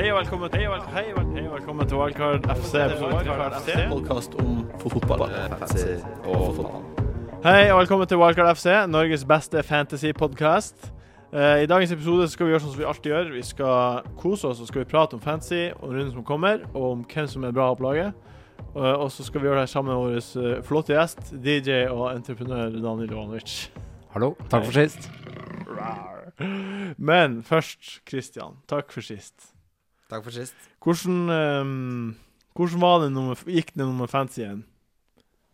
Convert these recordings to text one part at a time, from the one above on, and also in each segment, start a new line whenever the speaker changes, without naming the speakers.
Hei og velkommen til Hei og vel- hei og vel- hei og velkommen til Wildcard FC.
Podkast om fotball.
Hei og velkommen til Wildcard FC, Norges beste fantasy-podkast. I dagens episode så skal vi gjøre sånn som vi alltid gjør. Vi skal kose oss og så skal vi prate om fantasy, om runden som kommer, og om hvem som er bra på laget. Eh, Og så skal vi gjøre det her sammen med vår eh, flotte gjest, DJ og entreprenør Daniel Ivanovic.
Hallo, takk for sist.
Men først, Christian, takk for sist.
Takk for sist.
Hvordan, eh, hvordan var det nummer, gikk det nummer fancy igjen?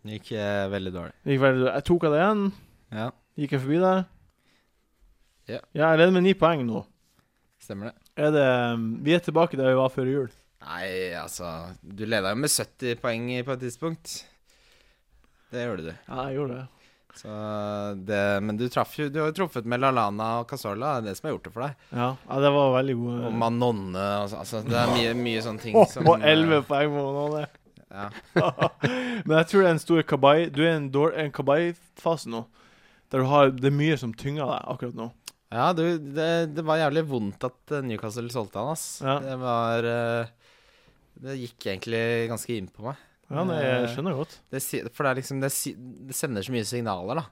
Det gikk eh, veldig dårlig.
Gikk vel, jeg tok av det igjen.
Ja,
Gikk jeg forbi der?
Ja.
jeg leder med ni poeng nå.
stemmer det.
Er det, um, vi er tilbake der vi var før jul.
Nei, altså Du leda jo med 70 poeng på et tidspunkt. Det gjorde du.
Ja, jeg gjorde det.
Så det, men du traff jo Du har jo truffet med Lalana og Casola. Det er det som har gjort det for deg.
Ja, ja det var veldig gode
Og Manonne og så- Altså, det er mye, mye sånne ting
Mm. Åh,
som eh,
Og elleve poeng må man ha det.
Ja.
Men jeg tror det er en stor kabai Du er i en, dår- en kabai-fase nå. Der du har Det er mye som tynger deg akkurat nå.
Ja, du, det, det var jævlig vondt at eh, Newcastle solgte han, ass.
Ja.
Det var eh, Det gikk egentlig ganske inn på meg.
Ja, nei, jeg skjønner godt.
det, si- For det er liksom det, si- det sender så mye signaler da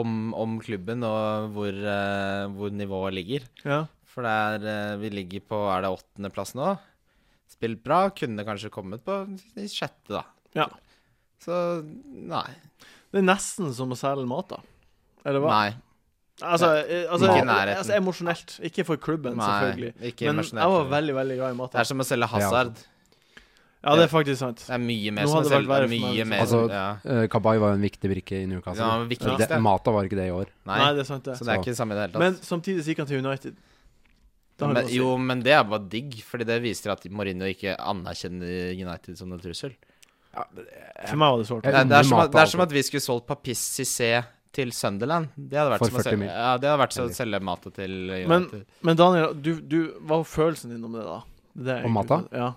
om, om klubben og hvor, eh, hvor nivået ligger.
Ja.
For det er, eh, vi ligger på Er det åttendeplass nå? Spilt bra. Kunne kanskje kommet på i sjette, da.
Ja.
Så nei.
Det er nesten som å selge mat, da. Eller hva?
Nei.
Altså, eh, altså,
Ikke i nærheten.
altså emosjonelt. Ikke for klubben,
nei
selvfølgelig.
ikke
Men jeg var
emosjonelt.
veldig, veldig glad i mat. altså.
Det er som å selge Hazard.
Ja, det er faktisk sant.
Det er mye mer
Nå
som å
hadde det vært
selge
verre for meg, Altså,
mye
liksom.
mer,
Altså,
ja.
Eh, Kabay var jo en viktig brikke i Newcastle. Eh,
Ja, det var viktigste.
det, Mata var ikke det i år.
Nei.
Nei, det er sant, det.
Så det er ikke det samme i det hele tatt.
Men samtidig så gikk han til United. Det har
men,
noe å si.
jo, men det er bare digg, fordi det viser at Mourinho ikke anerkjenner United som en trussel.
For meg var det sårt.
Jeg-
Det, det, er som at,
Mata,
det er som
altså.
at vi skulle solgt Papis Cissé til Sunderland. Det hadde vært
For
som å
40
selge,
mil.
ja, det hadde vært som å selge matet til United.
Men- Men Daniel, du, du, hva var følelsen din om det, da? Det er egentlig-
Om matta?
Ja.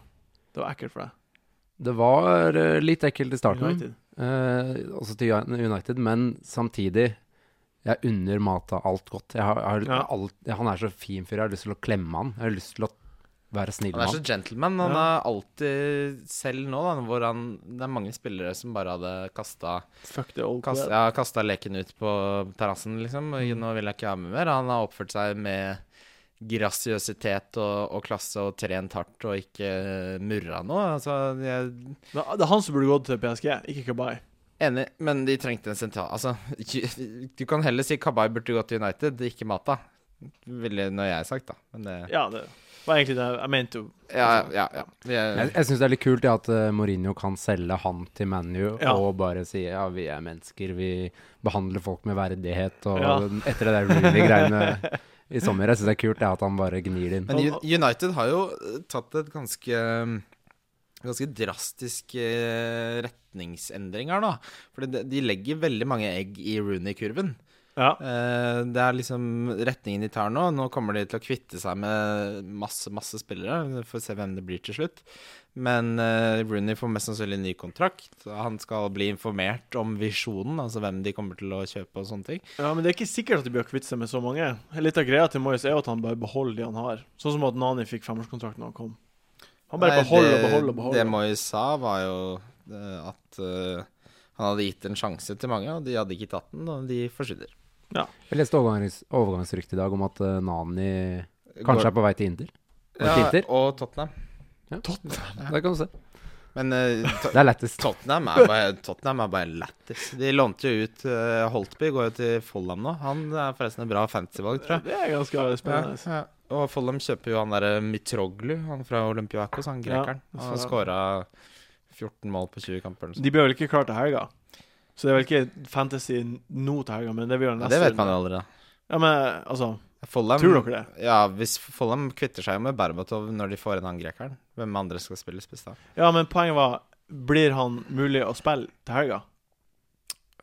Det var ekkelt for deg.
Det var eh, litt ekkelt i starten,
United.
eh, også til United, men samtidig Jeg unner Mata alt godt. Jeg har, jeg har,
Ja.
alt, han er så fin fyr. Jeg har lyst til å klemme han. Jeg har lyst til å være snill
han
med
er så
han.
gentleman. Han
Ja.
er alltid selv nå, da, hvor han Det er mange spillere som bare hadde kasta
Fuck the old
kast,
player.
ja, kastet leken ut på terrassen, liksom. og Nå vil jeg ikke være med mer. Han har oppført seg med grasiøsitet og, og klasse og trent hardt og ikke murra noe. Altså, jeg
Men Det er han som burde gått til PSG, ikke Kabay.
Enig, men de trengte en sentral Altså, du kan heller si Kabay burde gått til United, ikke Mata. Ville når jeg sagt, da. Men det
Ja, det var egentlig det jeg mente. jo.
Ja, ja. ja. Vi
Jeg,
er,
jeg syns det er litt kult ja, at eh, Mourinho kan selge han til ManU
Ja.
og bare si ja, vi er mennesker, vi behandler folk med verdighet og
Ja.
etter det der Rooney-greiene i sommer. Jeg syns det er kult ja, at han bare gnir det inn.
men U- United har jo eh, tatt et ganske mm, Ganske drastisk eh, retningsendring her, da. For de, de legger veldig mange egg i Rooney-kurven.
Ja.
Eh, det er liksom retningen de tar nå. Nå kommer de til å kvitte seg med masse, masse spillere. Vi får se hvem det blir til slutt. Men eh, Rooney får mest sannsynlig ny kontrakt. Han skal bli informert om visjonen, altså hvem de kommer til å kjøpe og sånne ting.
ja, men det er ikke sikkert at de bør kvitte seg med så mange. Litt av greia til Moyes er jo at han bare beholder de han har. Sånn som at Nani fikk femårskontrakt når han kom. Han bare
Nei,
beholder og
det-
beholder og beholder.
Det Moy sa, var jo eh, at eh, han hadde gitt en sjanse til mange, og de hadde ikke tatt den, og de forsvinner.
Jeg leste overgangs overgangsrykte i dag om at eh, Nani kanskje
Går-
er på vei til Inter. Var
ja,
det ikke Inter?
og Tottenham.
Det kan du se.
Men eh, to
Det er lettest.
Tottenham er bare, Tottenham er bare lættis. De lånte jo ut eh, Holtby, går jo til Follum nå. Han er forresten et bra fantasyvalg, tror jeg.
Det er ganske spennende.
Ja, ja. Og Follum kjøper jo han derre Mitroglu, han fra Olympiakos, han
Ja,
grekeren.
det
han har
så jeg.
skåra 14 mål på 20 kamper. eller noe sånt.
De blir vel ikke klar til helga. Så det er vel ikke fantasy nå til helga, men det blir jo
Ja,
neste
det vet
runde.
man jo allerede.
Ja, men altså,
Follum,
tror dere det?
Ja, hvis Follum kvitter seg jo med Berbatov når de får inn han grekeren, hvem andre skal spille spiss da?
Ja, men poenget var Blir han mulig å spille til helga?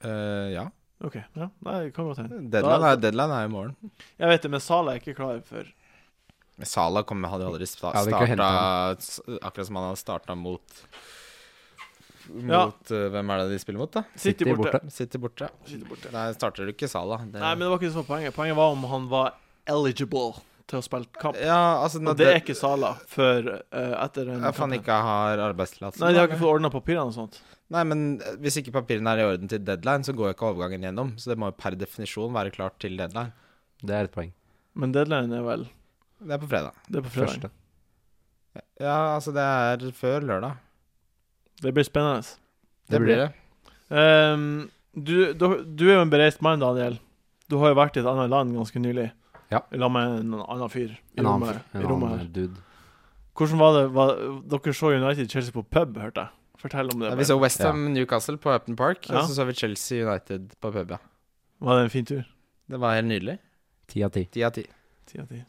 Eh, ja.
OK, ja, nei, det kan godt hende.
Deadline er, deadline er jo i morgen.
Jeg vet det, men Sala er ikke klar for
Sala kommer, hadde jo aldri sta
Ja, det er ikke å hente
starta Akkurat som han hadde starta mot Mot
Ja.
eh, Hvem er det de spiller mot, da?
City
City
borte.
Sitter borte.
City borte.
Nei, starter du ikke Sala. Det,
Nei, men det var ikke det som var poenget. Poenget var om han var eligible til å spille kamp.
Ja, altså
Og det er ikke Sala før eh, etter den
Jeg faen
kampen.
ikke har arbeidstillatelse.
Nei, de har ikke fått ordna papirene og sånt.
Nei, men eh, hvis ikke papirene er i orden til deadline, så går ikke overgangen gjennom. Så det må jo per definisjon være klart til deadline.
Det er et poeng.
Men deadline er vel
Det er på fredag.
Det er på fredag.
Første.
Ja, altså det er før lørdag.
Det blir spennende.
Det blir det.
Ehm, du, du, du er jo en bereist mann, Daniel. Du har jo vært i et annet land ganske nylig.
Ja.
I lag med en annen fyr i
En annen,
rommet, i
fyr, en
rommet her.
annen dude.
Hvordan var det var, Dere så United Chelsea på pub, hørte jeg. Fortell om det.
Ja,
bare.
vi så Westham Newcastle på Upton Park,
Ja.
og så så vi Chelsea United på pub, ja.
Var det en fin tur?
Det var helt nydelig.
Ti av ti.
Ti av ti.
Ti av ti.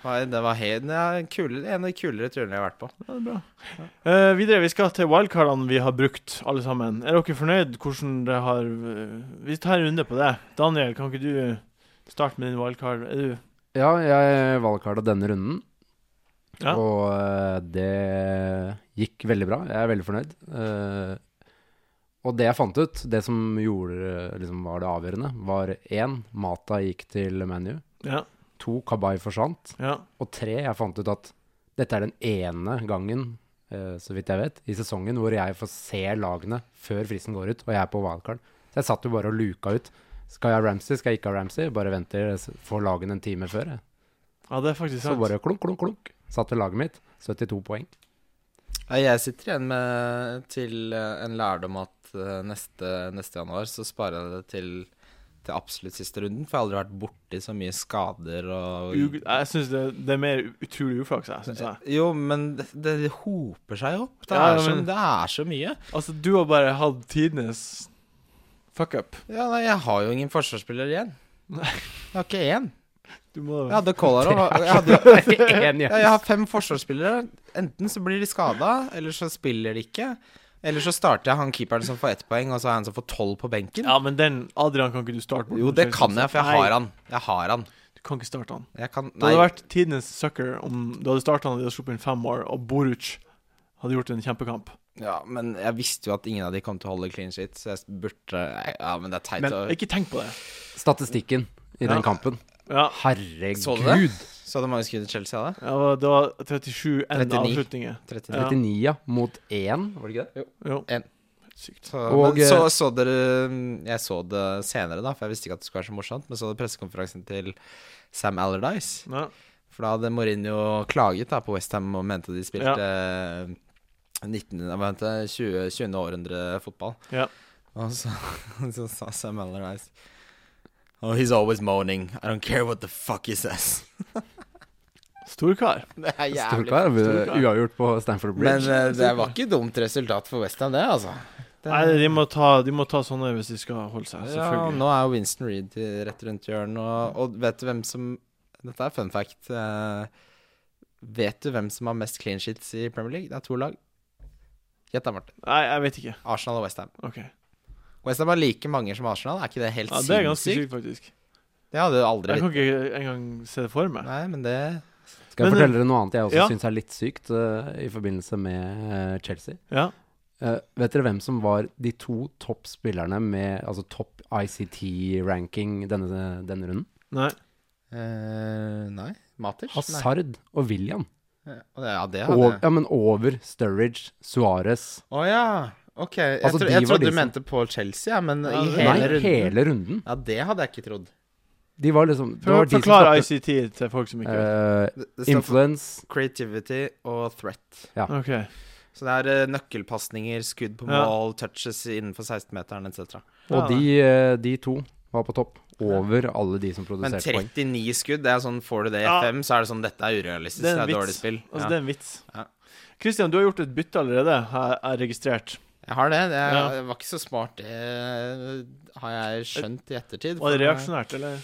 Nei, Det var helt, ja, kule, en av de kulere turene jeg har vært på.
Ja, det er bra. Eh, videre, vi skal til wildcardene vi har brukt, alle sammen. Er dere fornøyd hvordan det har eh, Vi tar en runde på det. Daniel, kan ikke du starte med din wildcard? Er du
Ja, jeg valgkarta Eh, denne runden.
Ja.
Og eh, det gikk veldig bra. Jeg er veldig fornøyd. Eh, og det jeg fant ut, det som gjorde, liksom, var det avgjørende, var én Mata gikk til ManU.
Ja.
To Kabay forsvant.
ja.
Og tre jeg fant ut at dette er den ene gangen, eh, så vidt jeg vet, i sesongen hvor jeg får se lagene før fristen går ut, og jeg er på wildcard. Så jeg satt jo bare og luka ut. Skal jeg ha Ramsey, skal jeg ikke ha Ramsey? Bare venter, s- får lagene en time før. Jeg.
ja, det er faktisk
Så
sant.
bare klunk, klunk, klunk. Satte laget mitt. 72 poeng.
Ja, Jeg sitter igjen med til eh, en lærdom at eh, neste, neste januar så sparer jeg det til, til absolutt siste runden, for jeg har aldri vært borti så mye skader og
Ug- Jeg syns det, det er mer utrolig uflaks, jeg, synes jeg.
Jo, men det, det hoper seg opp. Det
Ja,
er, så,
men-
det er så mye.
Altså, du har bare hatt tidenes fuck up.
Ja, nei, jeg har jo ingen forsvarsspiller igjen.
Nei.
Jeg har ikke én.
Du må
Jeg hadde Kolarov. og Jeg, hadde,
Én
ja, jeg har fem forsvarsspillere. Enten så blir de skada, eller så spiller de ikke. Eller så starter jeg han keeperen som får ett poeng, og så er han som får tolv på benken.
Ja, men den Adrian kan ikke du starte
Jo, det kan jeg, for jeg har han. Jeg har han.
Nei, du kan ikke starte han.
Jeg kan,
Det
nei,
hadde vært tidenes sucker om du hadde starta han og de hadde sluppet inn fem år, og Boruc hadde gjort en kjempekamp.
ja, men jeg visste jo at ingen av de kom til å holde clean shit, så jeg burde Ja, men det er teit
Men
å
ikke tenk på det.
Statistikken i den
Ja.
kampen.
Ja,
Så du det?
Herregud!
Så det mange skudd i Chelsea hadde?
det var- det var 37 end
39.
avslutninger.
39.
Ja.
39 ja. mot 1, var det ikke det?
Jo.
En.
Sykt.
Så,
Og,
men, så
eh,
så dere Jeg så det senere, da, for jeg visste ikke at det skulle være så morsomt, men så pressekonferansen til Sam Allardyce.
Ja.
For da hadde Mourinho klaget da på Westham og mente de spilte eh, 19, hva heter det, 20, 20. århundre fotball.
Ja.
Og så, så sa Sam Allardyce Oh, he's always moaning. I don't care what the fuck he says.
Storkar.
Det er
Storkar uavgjort på Stanford
Men
Bridge.
eh, det var ikke dumt resultat for Westham, det, altså. Det-
Nei, de må, ta, de må ta sånne hvis de skal holde seg,
Ja,
selvfølgelig.
nå er jo Winston Reed i- rett rundt hjørnet, og, og vet du hvem som Dette er fun fact. eh, vet du hvem som har mest clean sheets i Premier League? Det er to lag. Gjett da, Martin.
Nei, jeg vet ikke.
Arsenal og Westham.
OK.
Westham har like mange som Arsenal, er ikke det helt
Ja, det er ganske
sinnssykt?
sykt, faktisk.
Det hadde du aldri
Jeg
visst.
kan ikke engang se det for meg.
Nei, men det
Skal jeg
Men, eh,
fortelle dere noe annet jeg også
ja.
syns er litt sykt, eh, i forbindelse med eh, Chelsea?
Ja.
Eh, vet dere hvem som var de to topp spillerne med altså topp ICT-ranking denne, denne runden?
Nei.
eh, Nei. Maters? Nei.
Hazard og William.
Eh, Ja, det hadde
Og,
jeg.
ja, men over Sturridge, Suarez
Å ja. Ok. Jeg,
Altså,
tro,
de
jeg
var
trodde du
de som-
mente på Chelsea, ja, men
Ja,
i
det-
hele
Nei,
runden
hele runden.
Ja, det hadde jeg ikke trodd.
De var liksom det var
For,
de som
forklar
skapte,
ICT til folk som ikke vet.
eh,
Det, det står for
Influence
creativity og threat.
OK.
Så det er eh, nøkkelpasninger, skudd på
Ja.
mål, touches innenfor 16-meteren etc.
Ja,
Og de, eh, de to var på topp. Over alle de som
Men
produserte poeng.
39 skudd, det er sånn får du det i
Ja.
FM, så er det sånn dette er urealistisk,
Det er
det er,
en vits.
dårlig spill.
Altså,
ja.
det er en vits.
Ja.
Christian, du har gjort et bytte allerede, har jeg registrert.
Jeg har det. Det er,
Ja.
var ikke så smart, det har jeg skjønt i ettertid.
Var det
for-
reaksjonært, eller?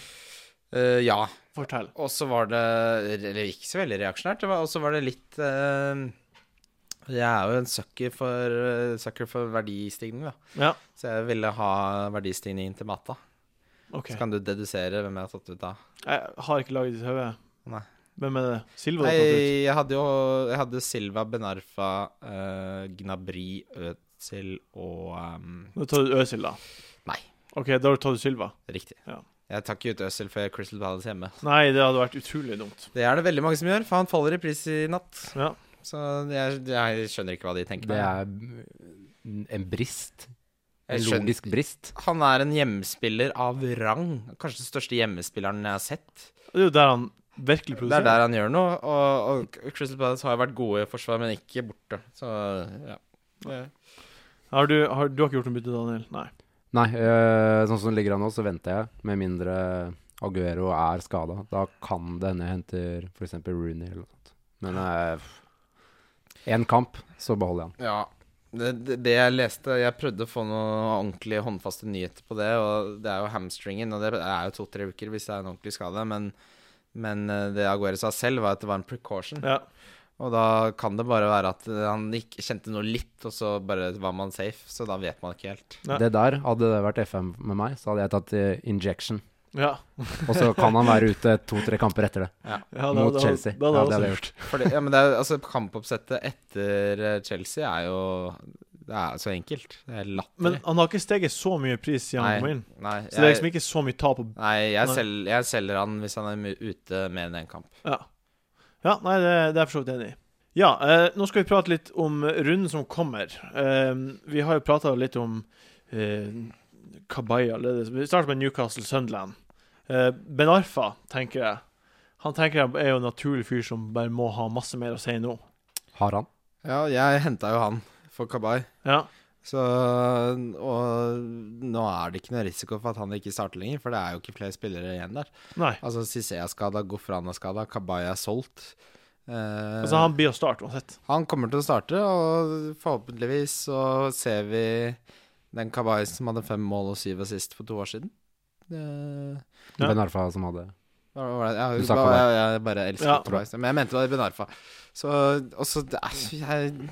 Eh, ja.
Fortell.
Og så var det Eller ikke så veldig reaksjonært. det var- Og så var det litt eh, Jeg er jo en sucker for, eh, sucker for verdistigning, da.
Ja,
Så jeg ville ha verdistigningen til Mata.
OK.
Så kan du dedusere hvem jeg har tatt ut da.
Jeg har ikke laget ditt høve.
Nei.
Hvem er det? Silva du
Nei,
har tatt ut?
jeg hadde jo jeg hadde Silva, Benarfa, eh, Gnabry, Ødsel og eh, ehm,
Du har tatt ut Øsil, da.
Nei.
OK, da har du tatt ut Silva.
Riktig.
Ja.
Jeg tar ikke ut Øzil før Crystal Palace hjemme.
Nei, det hadde vært utrolig dumt.
Det er det veldig mange som gjør, for han faller i pris i natt.
Ja.
Så jeg, jeg skjønner ikke hva de tenker.
Det
på.
er en brist. En
Jeg skjønner-
logisk brist.
Han er en hjemmespiller av rang. Kanskje den største hjemmespilleren jeg har sett.
Det er jo der han virkelig
Det er
produserer.
der han gjør noe. Og, og Crystal Palace har jo vært gode i forsvar, men ikke borte. Så ja.
Har du, har, du har ikke gjort noe bytte, Daniel? Nei.
Nei, øh, sånn som det ligger an nå, så venter jeg. Med mindre Aguero er skada. Da kan det hende jeg henter f.eks. Rooney eller noe sånt. Men én kamp, så beholder jeg han.
Ja. Det, det- det jeg leste Jeg prøvde å få noen ordentlige håndfaste nyheter på det, og det er jo hamstringen, og det er jo to-tre uker hvis det er en ordentlig skade, men, men eh, det Aguero sa selv, var at det var en precaution.
Ja.
Og da kan det bare være at eh, han ikke kjente noe litt, og så bare var man safe, så da vet man ikke helt.
Nei.
Det der, hadde det vært FM med meg, så hadde jeg tatt eh, injection.
ja.
Og så kan han være ute to-tre kamper etter det.
ja
Mot Chelsea.
Da, da,
Ja, det hadde jeg
gjort.
Fordi, ja, men det er, jo- altså, kampoppsettet etter eh, Chelsea er jo Det er så enkelt. Det er
Men
latterlig.
han har ikke steget så mye pris siden han kom inn.
nei,
Så det er
jeg,
liksom ikke så mye tap på
nei, jeg,
Nei.
selger, jeg selger han hvis han er mu- ute mer enn én kamp.
Ja. ja nei, det, det er jeg for så vidt enig i. Ja, eh, nå skal vi prate litt om runden som kommer. Eh, vi har jo prata litt om eh, Kabay allerede. Vi starter med Newcastle Sunderland. Eh, ben Arfa, tenker jeg. Han tenker jeg er jo en naturlig fyr som bare må ha masse mer å si nå.
Har han?
Ja, jeg henta jo han for Kabay.
Ja,
Så, og nå er det ikke noe risiko for at han ikke starter lenger, for det er jo ikke flere spillere igjen der.
nei.
Altså, Cissé er skada, Gofran er skada, Kabay er solgt. Eh,
Altså, han blir å starte uansett.
Han kommer til å starte, og forhåpentligvis så ser vi den Kabay som hadde fem mål og syv assist for to år siden. Det-
Ja.
Ben Arfa som hadde
hva var det?
Du
Jeg,
sa
bare,
Kabay.
jeg, jeg bare elsker
Ja.
Kabay. Men jeg mente det var Ben Arfa. Så Og så det er- jeg,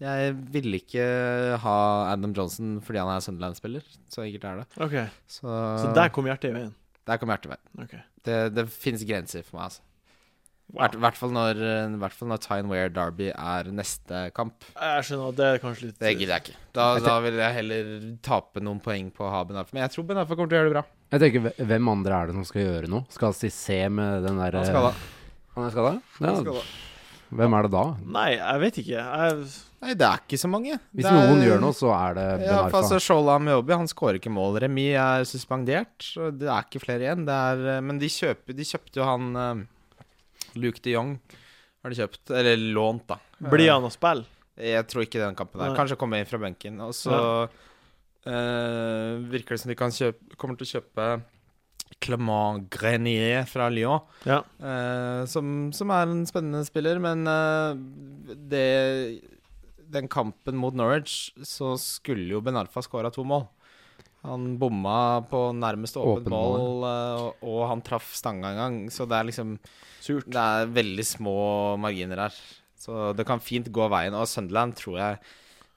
jeg ville ikke ha Adam Johnson fordi han er Sunderland-spiller. Så enkelt er det.
Ok,
Så,
Så der kom hjertet i veien.
der kom hjertet vekk.
Ok.
Det, det finnes grenser for meg, altså. I
Wow.
hvert, hvert fall når, hvert fall når Tyne Wear Derby er neste kamp.
Jeg skjønner at det er kanskje litt
Det gidder jeg ikke. Da,
Jeg
da vil jeg heller tape noen poeng på å ha Ben Arfa. Men jeg tror Ben Arfa kommer til å gjøre det bra.
Jeg tenker, hve- Hvem andre er det som skal gjøre noe? Skal Cissé med den derre
Han skal da.
Han er skada?
Han skal
Ja.
da.
Hvem er det da?
Nei, jeg vet ikke. Jeg,
Nei, det er ikke så mange.
Hvis
Det er-
noen gjør noe, så er det Ben
Ja, for
Arfa.
altså Shola Mjobi han skårer ikke mål. Remi er suspendert. så Det er ikke flere igjen. Det er, eh, men de, kjøper, de kjøpte jo han eh, Luke de Jong. Har de kjøpt? Eller lånt, da. Eh,
blir han å spille?
Jeg tror ikke den kampen der.
Nei.
Kanskje komme inn fra benken. Og så eh, virker det som de kan kjøpe, kommer til å kjøpe Clement Grenier fra Lyon,
Ja.
eh, som, som er en spennende spiller, men eh, det Den kampen mot Norwich, så skulle jo Ben Arfa skåra to mål. Han bomma på nærmest åpent
Åpent
mål, eh, og, og han traff stanga en gang, så det er liksom
Surt.
det er veldig små marginer her. Så det kan fint gå veien. Og Sunderland tror jeg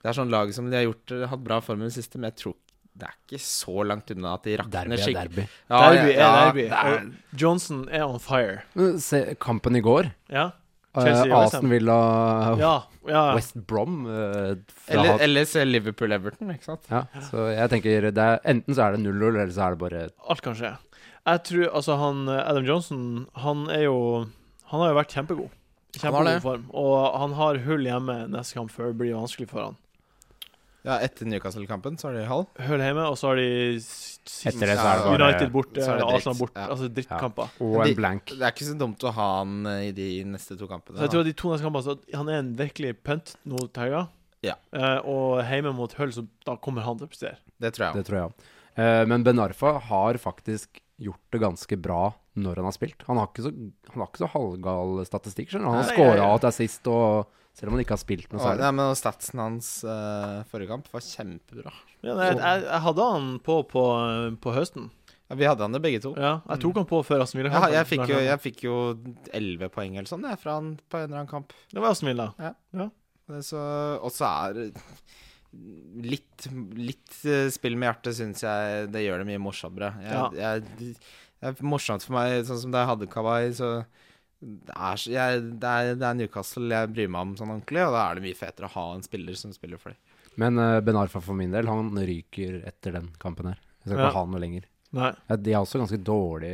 Det er sånn lag som de har gjort, hatt bra form i det siste, men jeg tror det er ikke så langt unna at de rakner
Derby er
skikkelig.
derby.
Ja,
derby er
ja,
derby.
det er-
Johnson er on fire.
Men Se, kampen i går.
Ja. Chelsea,
Eh,
West Ham.
Aston Villa eh,
Ja. ja.
West Brom. eh, fra,
Eller, eller se Liverpool-Everton, ikke sant?
ja, så jeg tenker det er, Enten så er det 0-0, eller så er det bare
Alt kan skje. Jeg tror altså han eh, Adam Johnson, han er jo Han har jo vært kjempegod. I
Han har
Kjempegod
det.
form. Og han har hull hjemme neste kamp før det blir vanskelig for han.
Ja, etter Newcastle-kampen så er det halv.
Hull hjemme, og så har de s- s-
Etter det så
er det bare-
United borte,
så er det dritt.
Arsenal borte.
Ja.
Altså drittkamper.
Og
De-
en blank.
Det er ikke så dumt å ha han eh, i de neste to kampene.
Så jeg tror de to neste kampene så Han er en virkelig pønt nå til helga.
Ja.
Eh, og hjemme mot Hull, så da kommer han til å prestere.
Det tror jeg.
Det tror jeg òg. men Ben Arfa har faktisk gjort det ganske bra når han har spilt. Han har ikke så, han har ikke så halvgal statistikk, skjønner du. Han har
Nei,
scora
ja, ja.
og tatt sist, og selv om han ikke har spilt noe
Og,
særlig.
nei, men og statsen hans eh, forrige kamp var kjempebra.
Men jeg, jeg, jeg hadde han på på, eh, på høsten.
Ja, vi hadde han det begge to.
Ja, jeg tok han på Mm. før Aston Villa.
Jeg, har- jeg,
eh,
fikk, jo, jeg fikk jo 11 poeng eller sånn jeg, fra han på en eller annen kamp.
Det var Aston Villa.
Det Eh, Så, og så er det litt, litt eh, spill med hjertet, syns jeg det gjør det mye morsommere. Jeg, jeg, det er morsomt for meg, sånn som da jeg hadde Kawai, så det er, så- jeg, det, er, det er Newcastle jeg bryr meg om sånn ordentlig, og da er det mye fetere å ha en spiller som spiller for dem.
Men eh, Ben Arfa for min del, han ryker etter den kampen her. Jeg skal
Ja.
ikke ha han noe lenger.
Nei.
Ja, de er også ganske dårlig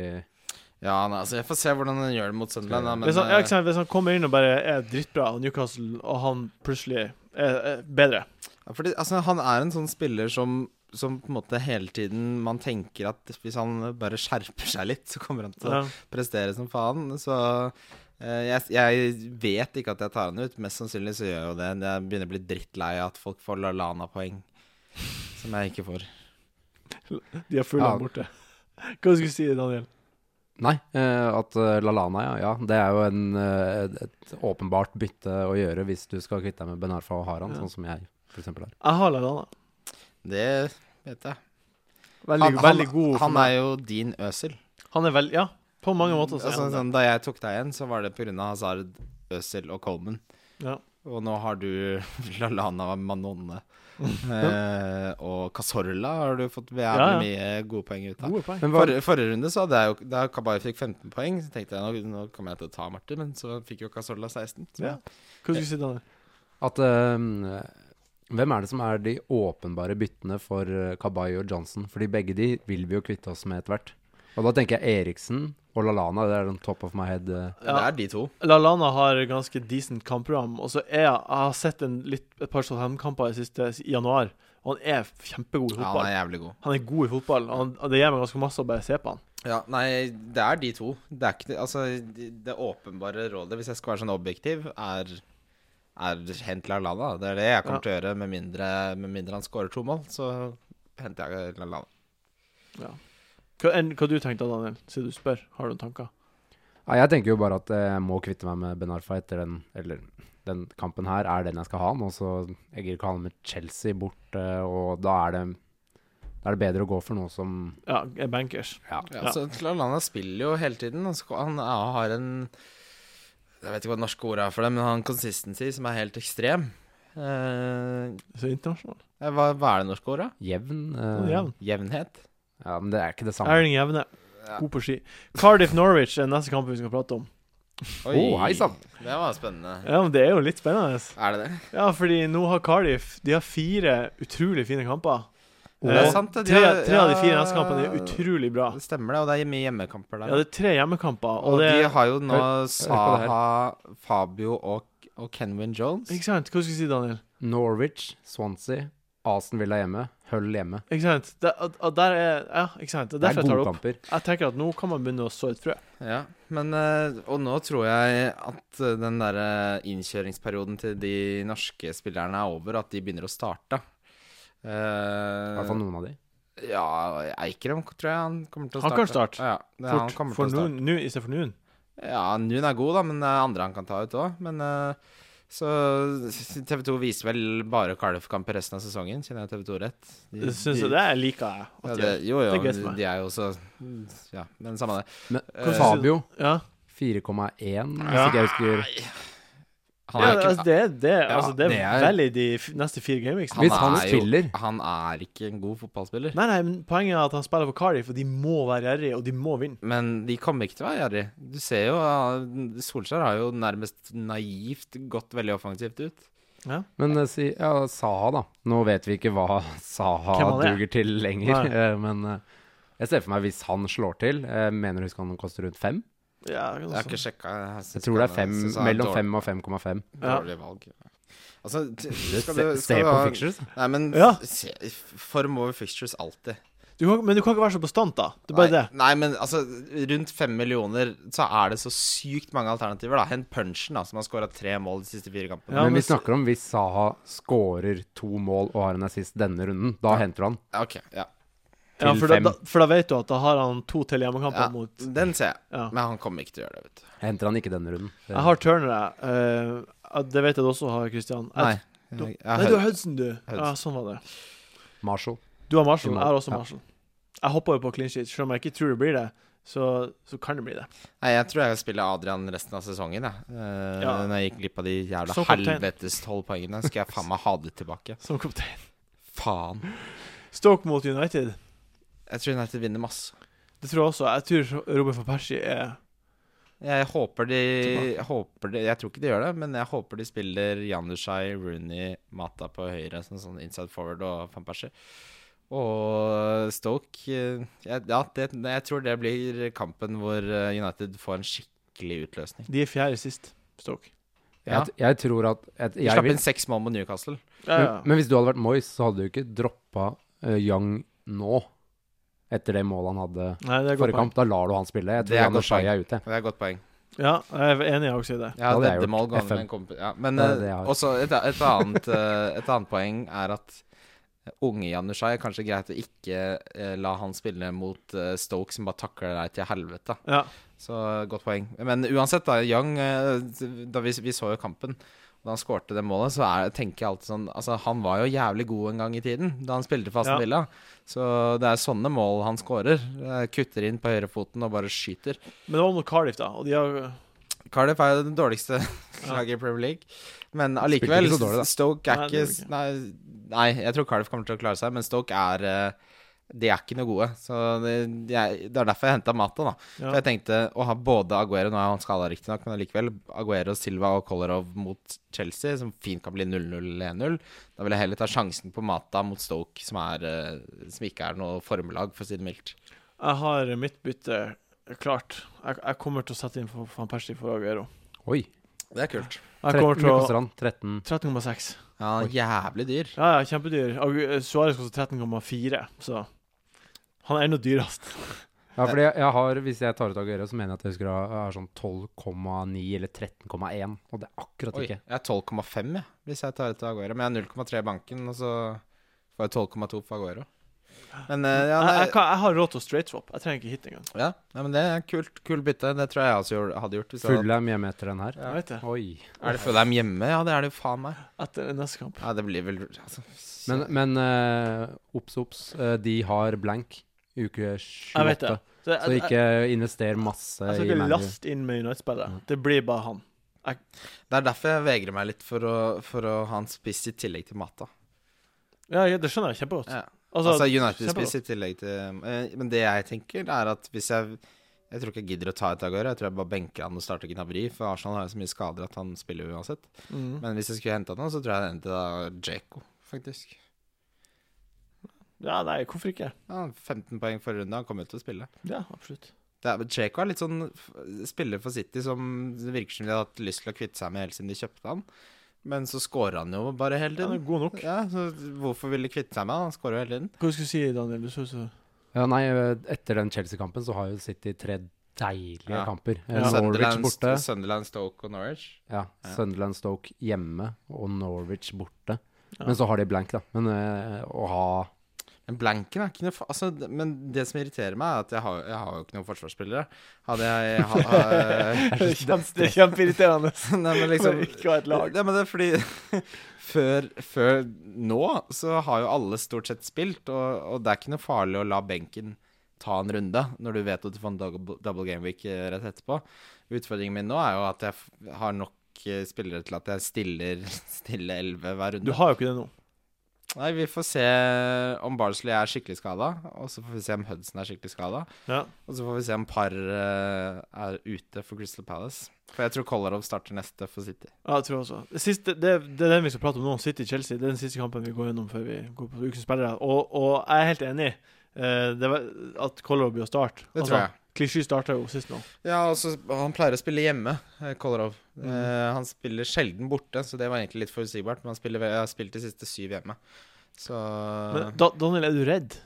Ja, nei, altså Jeg får se hvordan han gjør det mot Sunderland. Da, men
hvis, han, ja,
eh,
ikke sant, hvis han kommer inn og bare er drittbra, og Newcastle, og han plutselig er, er bedre
ja, fordi, altså, han er en sånn spiller som, som på en måte hele tiden man tenker at hvis han bare skjerper seg litt, så kommer han til å
ja.
prestere som faen. Så eh, jeg, jeg vet ikke at jeg tar han ut. Mest sannsynlig så gjør jeg jo det. Jeg begynner å bli drittlei av at folk får Lallana-poeng. Som jeg ikke får.
De har fulla
Ja.
borte. Hva skulle du si, Daniel?
Nei, eh, at eh, Lalana, ja, ja. Det er jo en, eh, et- et åpenbart bytte å gjøre hvis du skal kvitte deg med Ben Arfa og Haran,
Ja.
sånn som jeg f.eks. er.
Jeg har Lallana.
Det vet jeg.
Veldig, veldig god.
han er jo din Øsil.
han er veldig Ja, på mange måter. Så er
Altså,
han det.
sånn, da jeg tok deg igjen, så var det pga. Hazard, Øsil og Coleman.
Ja.
Og nå har du Lallana Manonne. eh, og Casorla har du fått jævlig
Ja, ja.
mye gode poeng ut av.
Gode poeng.
Men hva,
Forrige, forrige runde så hadde jeg jo da Kabay fikk 15 poeng, så tenkte jeg nå, nå kommer jeg til å ta Martin, men så fikk jo Casorla 16. Så
Ja. Hva skulle du si, Daniel?
at eh, Hvem er det som er de åpenbare byttene for eh, Kabay og Johnson? Fordi begge de vil vi jo kvitte oss med etter hvert. Og da tenker jeg Eriksen og Lalana, det er den top of my head. eh.
Det
Ja.
er de to.
Lallana har ganske decent kampprogram. Og så er jeg, jeg har sett en litt, et par Southampton-kamper i siste i januar, og han er kjempegod i
Ja, han
fotball.
er jævlig god.
han er god i fotball, og han, det gir meg ganske masse å bare se på han.
Ja, nei, det er de to. Det er ikke det Altså, det, det åpenbare rådet, hvis jeg skal være sånn objektiv, er er hent Lallana. Det er det jeg kommer
Ja.
til å gjøre, med mindre, med mindre han scorer to mål. Så henter jeg Lallana.
Hva, enn- hva du tenkte du, Daniel, siden du spør? Har du noen tanker?
Nei, jeg tenker jo bare at eh, jeg må kvitte meg med Ben Arfa etter den Eller den kampen her er den jeg skal ha nå, så jeg gir ikke ha han med Chelsea bort, eh, og da er det da er det bedre å gå for noe som
Ja, er bankers.
Ja.
Ja,
Ja.
så Lallana spiller jo hele tiden. og så- Han er- har en Jeg vet ikke hva det norske ordet er for det, men han har en consistency som er helt ekstrem. Eh,
Så internasjonal.
hva, hva er det norske ordet?
Jevn.
Han
eh,
er Jevn.
Jevnhet?
Ja, men det er ikke det samme.
Erling Jevne. God på ski. Cardiff Norwich er neste kamp vi skal prate om.
Å, hei sann.
Det var spennende.
Ja, men Det er jo litt spennende.
Er det det?
Ja, fordi nå har Cardiff De har fire utrolig fine kamper.
Og-
Eh,
Det er sant, det. De
tre,
har-
tre av de fire
ja.
neste kampene er utrolig bra.
Det stemmer det, og det er mye hjemmekamper der.
Ja, det er tre hjemmekamper,
og
og det
de har jo nå
på det her.
Saha, Fabio og, og Kenwin Jones.
Ikke sant? Hva skal jeg si, Daniel?
Norwich, Swansea, Aston Villa hjemme, Hull hjemme.
Ikke sant? Der, og, og der er Ja, ikke sant? Det er
Det
derfor
er
jeg tar
gode
det opp.
kamper.
Jeg tenker at nå kan man begynne å så et frø.
Ja, men eh, Og nå tror jeg at eh, den derre innkjøringsperioden til de norske spillerne er over, at de begynner å starte. Eh,
I hvert fall noen av de.
ja, Eikrem tror jeg han kommer til å
Han
starte.
kan starte.
Ja, det, er han
Fort.
kommer
For
til å starte.
Noon- Noon- i stedet for Noon.
Ja, Nun er god, da, men det er andre han kan ta ut òg. Men eh, så TV 2 viser vel bare Cardiff-kamper resten av sesongen, kjenner jeg TV 2 rett? De-
Det syns
de-
jeg det er- liker jeg.
ja,
At
det,
de gjør.
jo, jo,
Det er greit for
men
meg.
de er jo også Ja, men samme det.
Men
Eh,
Fabio,
ja.
4,1, hvis
Ja.
ikke jeg husker
han
ja,
er ikke,
altså, det, er- det, er-
Ja,
altså, det er
det er-
veldig de f neste fire gamingsene.
Hvis han
er
spiller.
Jo, han er ikke en god fotballspiller.
Nei, nei, men poenget er at han spiller for Cardiff, og de må være gjerrige, og de må vinne.
Men de kommer ikke til å være gjerrig. Du ser jo ah, Solskjær har jo nærmest naivt gått veldig offensivt ut.
Men eh, si ja, Saha, da. Nå vet vi ikke hva Saha
Hvem han er.
duger til lenger, eh, men eh, jeg ser for meg hvis han slår til Jeg mener husk han koster rundt fem.
Ja,
Jeg har ikke sjekka. Jeg, synes
Jeg tror det er
han-
fem,
jeg synes han er
mellom
dårlig-
fem og 5,5.
Ja.
Dårlig valg. Altså, t-
Se,
skal du,
se
skal du
på
ha
pictures.
Nei, men
Ja.
se, form over fixtures alltid.
Du kan, men du kan ikke være så bastant, da. Det er bare
nei, nei, men altså, rundt fem millioner så er det så sykt mange alternativer, da. Hent punchen, da, som har skåra tre mål de siste fire kampene.
Ja,
men
men
vi
s-
snakker om hvis Saha scorer to mål og har en assist denne runden. Da henter du han.
Ja, ok, ja.
det. Ja,
til
for, da,
fem.
da, for da vet du at da har han to til hjemmekamper
ja.
mot
Den ser jeg.
Ja.
Men han kommer ikke til å gjøre det, vet du.
Jeg henter han ikke denne runden. Det-
Jeg har Turner, jeg. Eh, det vet jeg du også har, Christian. Jeg,
Nei,
du-
jeg
nei,
har-
du har Hudson, du. Ja,
Hudson.
sånn var det.
Eh, Marshall.
Du har Marshall.
I mål,
Jeg har også
ja.
Marshall. Jeg hoppa jo på clean sheet, selv om jeg ikke tror det blir det. Så, så kan det bli det.
Nei, jeg tror jeg spiller Adrian resten av sesongen, jeg. Eh,
Ja.
Når jeg gikk glipp av de jævla
Som kaptein.
helvetes tolv poengene, skal jeg faen meg ha det tilbake.
Som kaptein.
Faen.
Stoke mot United.
Jeg tror United vinner masse.
Det tror jeg også. Jeg tror Robin van Persie er
Jeg håper de, jeg håper de Jeg tror ikke de gjør det, men jeg håper de spiller Jandushai, Rooney, Mata på høyre, sånn, sånn inside forward og Van Persie. Og Stoke eh, jeg- Ja, det, jeg tror det blir kampen hvor eh, United får en skikkelig utløsning.
De er fjerde sist, Stoke.
Ja.
Jeg, jeg tror at jeg,
De
jeg
slapp
vil,
inn seks mål mot Newcastle.
Ja,
men,
ja.
men hvis du hadde vært Moyes, så hadde du ikke droppa eh, Young nå. Etter det målet han hadde
Nei, det er godt
forrige kamp. Da lar du han spille. Jeg
Det er
tror han
godt
og Shai
poeng.
er ute.
Det er et godt poeng.
Ja, jeg er enig, jeg også i det.
Ja,
hadde jeg gjort.
veddemål gående
FM.
med en komp- Ja, men
Det er det jeg
eh,
har.
også et, et, annet, eh, et annet poeng er at unge Janushai er kanskje greit å ikke eh, la han spille mot eh, Stoke, som bare takler deg til helvete.
Ja.
Så eh, godt poeng. Men uansett, da, Young eh, da vi, vi så jo kampen. Da han skårte det målet, så er, tenker jeg alltid sånn Altså, han var jo jævlig god en gang i tiden, da han spilte for Aston
Ja.
Villa. Så det er sånne mål han skårer. Eh, Kutter inn på høyrefoten og bare skyter.
Men det var mot Cardiff, da, og de har
Cardiff er jo det dårligste laget i Premier League. Men allikevel,
ikke så dårlig, da.
Stoke
Nei,
er ikke
det gjorde
nei, nei, jeg tror Cardiff kommer til å klare seg, men Stoke er eh, De er ikke noe gode. Så det, de er, det er derfor jeg henta Mata, da.
Ja.
For jeg tenkte å ha både Aguero Nå er han skada, riktignok, men allikevel. Aguero, Silva og Kolarov mot Chelsea, som fint kan bli 0-0-1-0. Da vil jeg heller ta sjansen på Mata mot Stoke, som, er, eh, som ikke er noe formelag, for å si det mildt.
Jeg har mitt bytte klart. Jeg, jeg kommer til å sette inn for van Persie for Aguero.
Oi.
Det er kult.
Jeg
13,
kommer til
Mye
å
koster han? 13
13,6.
Ja, jævlig dyr.
Ja, ja, kjempedyr. Agu- Suarez koster 13,4, så han er ennå dyrest.
Ja, fordi jeg, jeg har, hvis jeg tar ut Aguero, så mener jeg at jeg husker jeg har- har sånn 12,9 eller 13,1. Og det er akkurat
Oi,
ikke.
jeg er 12,5 jeg, hvis jeg tar ut Aguero. Men jeg har 0,3 i banken, og så får jeg 12,2 for Aguero. Men eh, ja,
Jeg,
nei,
jeg, kan, jeg har råd til å straight swap. Jeg trenger ikke hit engang.
ja nei, men det er kult, kult bytte. Det tror jeg jeg også gjorde- hadde gjort. Hvis jeg hadde-
Fullham hjemme etter den her.
Jeg vet det.
Oi.
Er det Fulham hjemme? Ja, det er det jo faen meg.
Etter neste kamp.
Ja, det blir vel altså, s-
Men, men eh, obs, obs. eh, de har blank uke
Jeg vet det.
28.
Så
Så
jeg, jeg, jeg,
ikke invester masse
jeg
i
skal Altså, ikke
Manu.
laste inn med United-spillet. Det blir bare han.
Det er derfor jeg vegrer meg litt for å, for å ha en spiss i tillegg til Mata.
Ja, ja, det skjønner jeg kjempegodt.
Ja.
Altså,
Altså United-spiss
kjempegodt.
i tillegg til eh, Men det jeg tenker, er at hvis jeg Jeg tror ikke jeg gidder å ta ut Aguero. Jeg tror jeg bare benker han og starter Gnabry, for Arsenal har jo så mye skader at han spiller jo uansett.
Mm.
Men hvis jeg skulle henta noen, så tror jeg jeg hentet Jaco, faktisk.
Ja, nei, hvorfor ikke?
Ja, 15 poeng forrige runde, han kommer jo til å spille.
Ja, absolutt.
Det er, Jaco er litt sånn f- spiller for City som det virker som de har hatt lyst til å kvitte seg med helt siden de kjøpte han. Men så scorer han jo bare hele
Den er
tiden.
god nok.
Ja, så hvorfor vil de kvitte seg med han? Han scorer jo hele tiden.
Hva skulle du si, Daniel? Du så ut som
Ja, nei, eh, etter den Chelsea-kampen så har jo City tre deilige
Ja.
kamper. Eh,
Ja.
Norwich
Sunderland,
borte.
Sunderland, Stoke og Norwich.
Ja,
Ja.
Sunderland Stoke hjemme og Norwich borte.
Ja.
Men så har de blank, da. Men eh, å ha
Men blanken er ikke noe fa altså, d- Men det som irriterer meg, er at jeg har, jeg har jo ikke noen forsvarsspillere. Hadde jeg ha, ha,
Det er kjempe- det er kjempeirriterende.
Nei, men liksom
Liksom, ikke ha et lag.
Ja, men det er fordi før, før nå så har jo alle stort sett spilt, og, og det er ikke noe farlig å la benken ta en runde når du vet at du får en double, double game week eh, rett etterpå. Utfordringen min nå er jo at jeg f- har nok eh, spillere til at jeg stiller stille 11 hver
Du
runde.
har jo ikke det nå.
Nei, vi får se om Barnsley er skikkelig skada, og så får vi se om Hudson er skikkelig skada.
Ja.
Og så får vi se om Par eh, er ute for Crystal Palace. For jeg tror Kolarov starter neste for City.
Ja, jeg tror også. Det, siste, det, det er den vi skal prate om nå, City-Chelsea. Det er den siste kampen vi går gjennom før vi går på ukens spillere. Og, og jeg er helt enig eh, det var, at Color blir å starte.
Det tror jeg.
Klisjé starta jo sist nå.
Ja, altså, han pleier å spille hjemme, eh, Kolarov.
Mm.
Eh, han spiller sjelden borte, så det var egentlig litt forutsigbart. Men han spiller, vel- har spilt de siste syv hjemme. Så
Men da, Daniel, er du redd?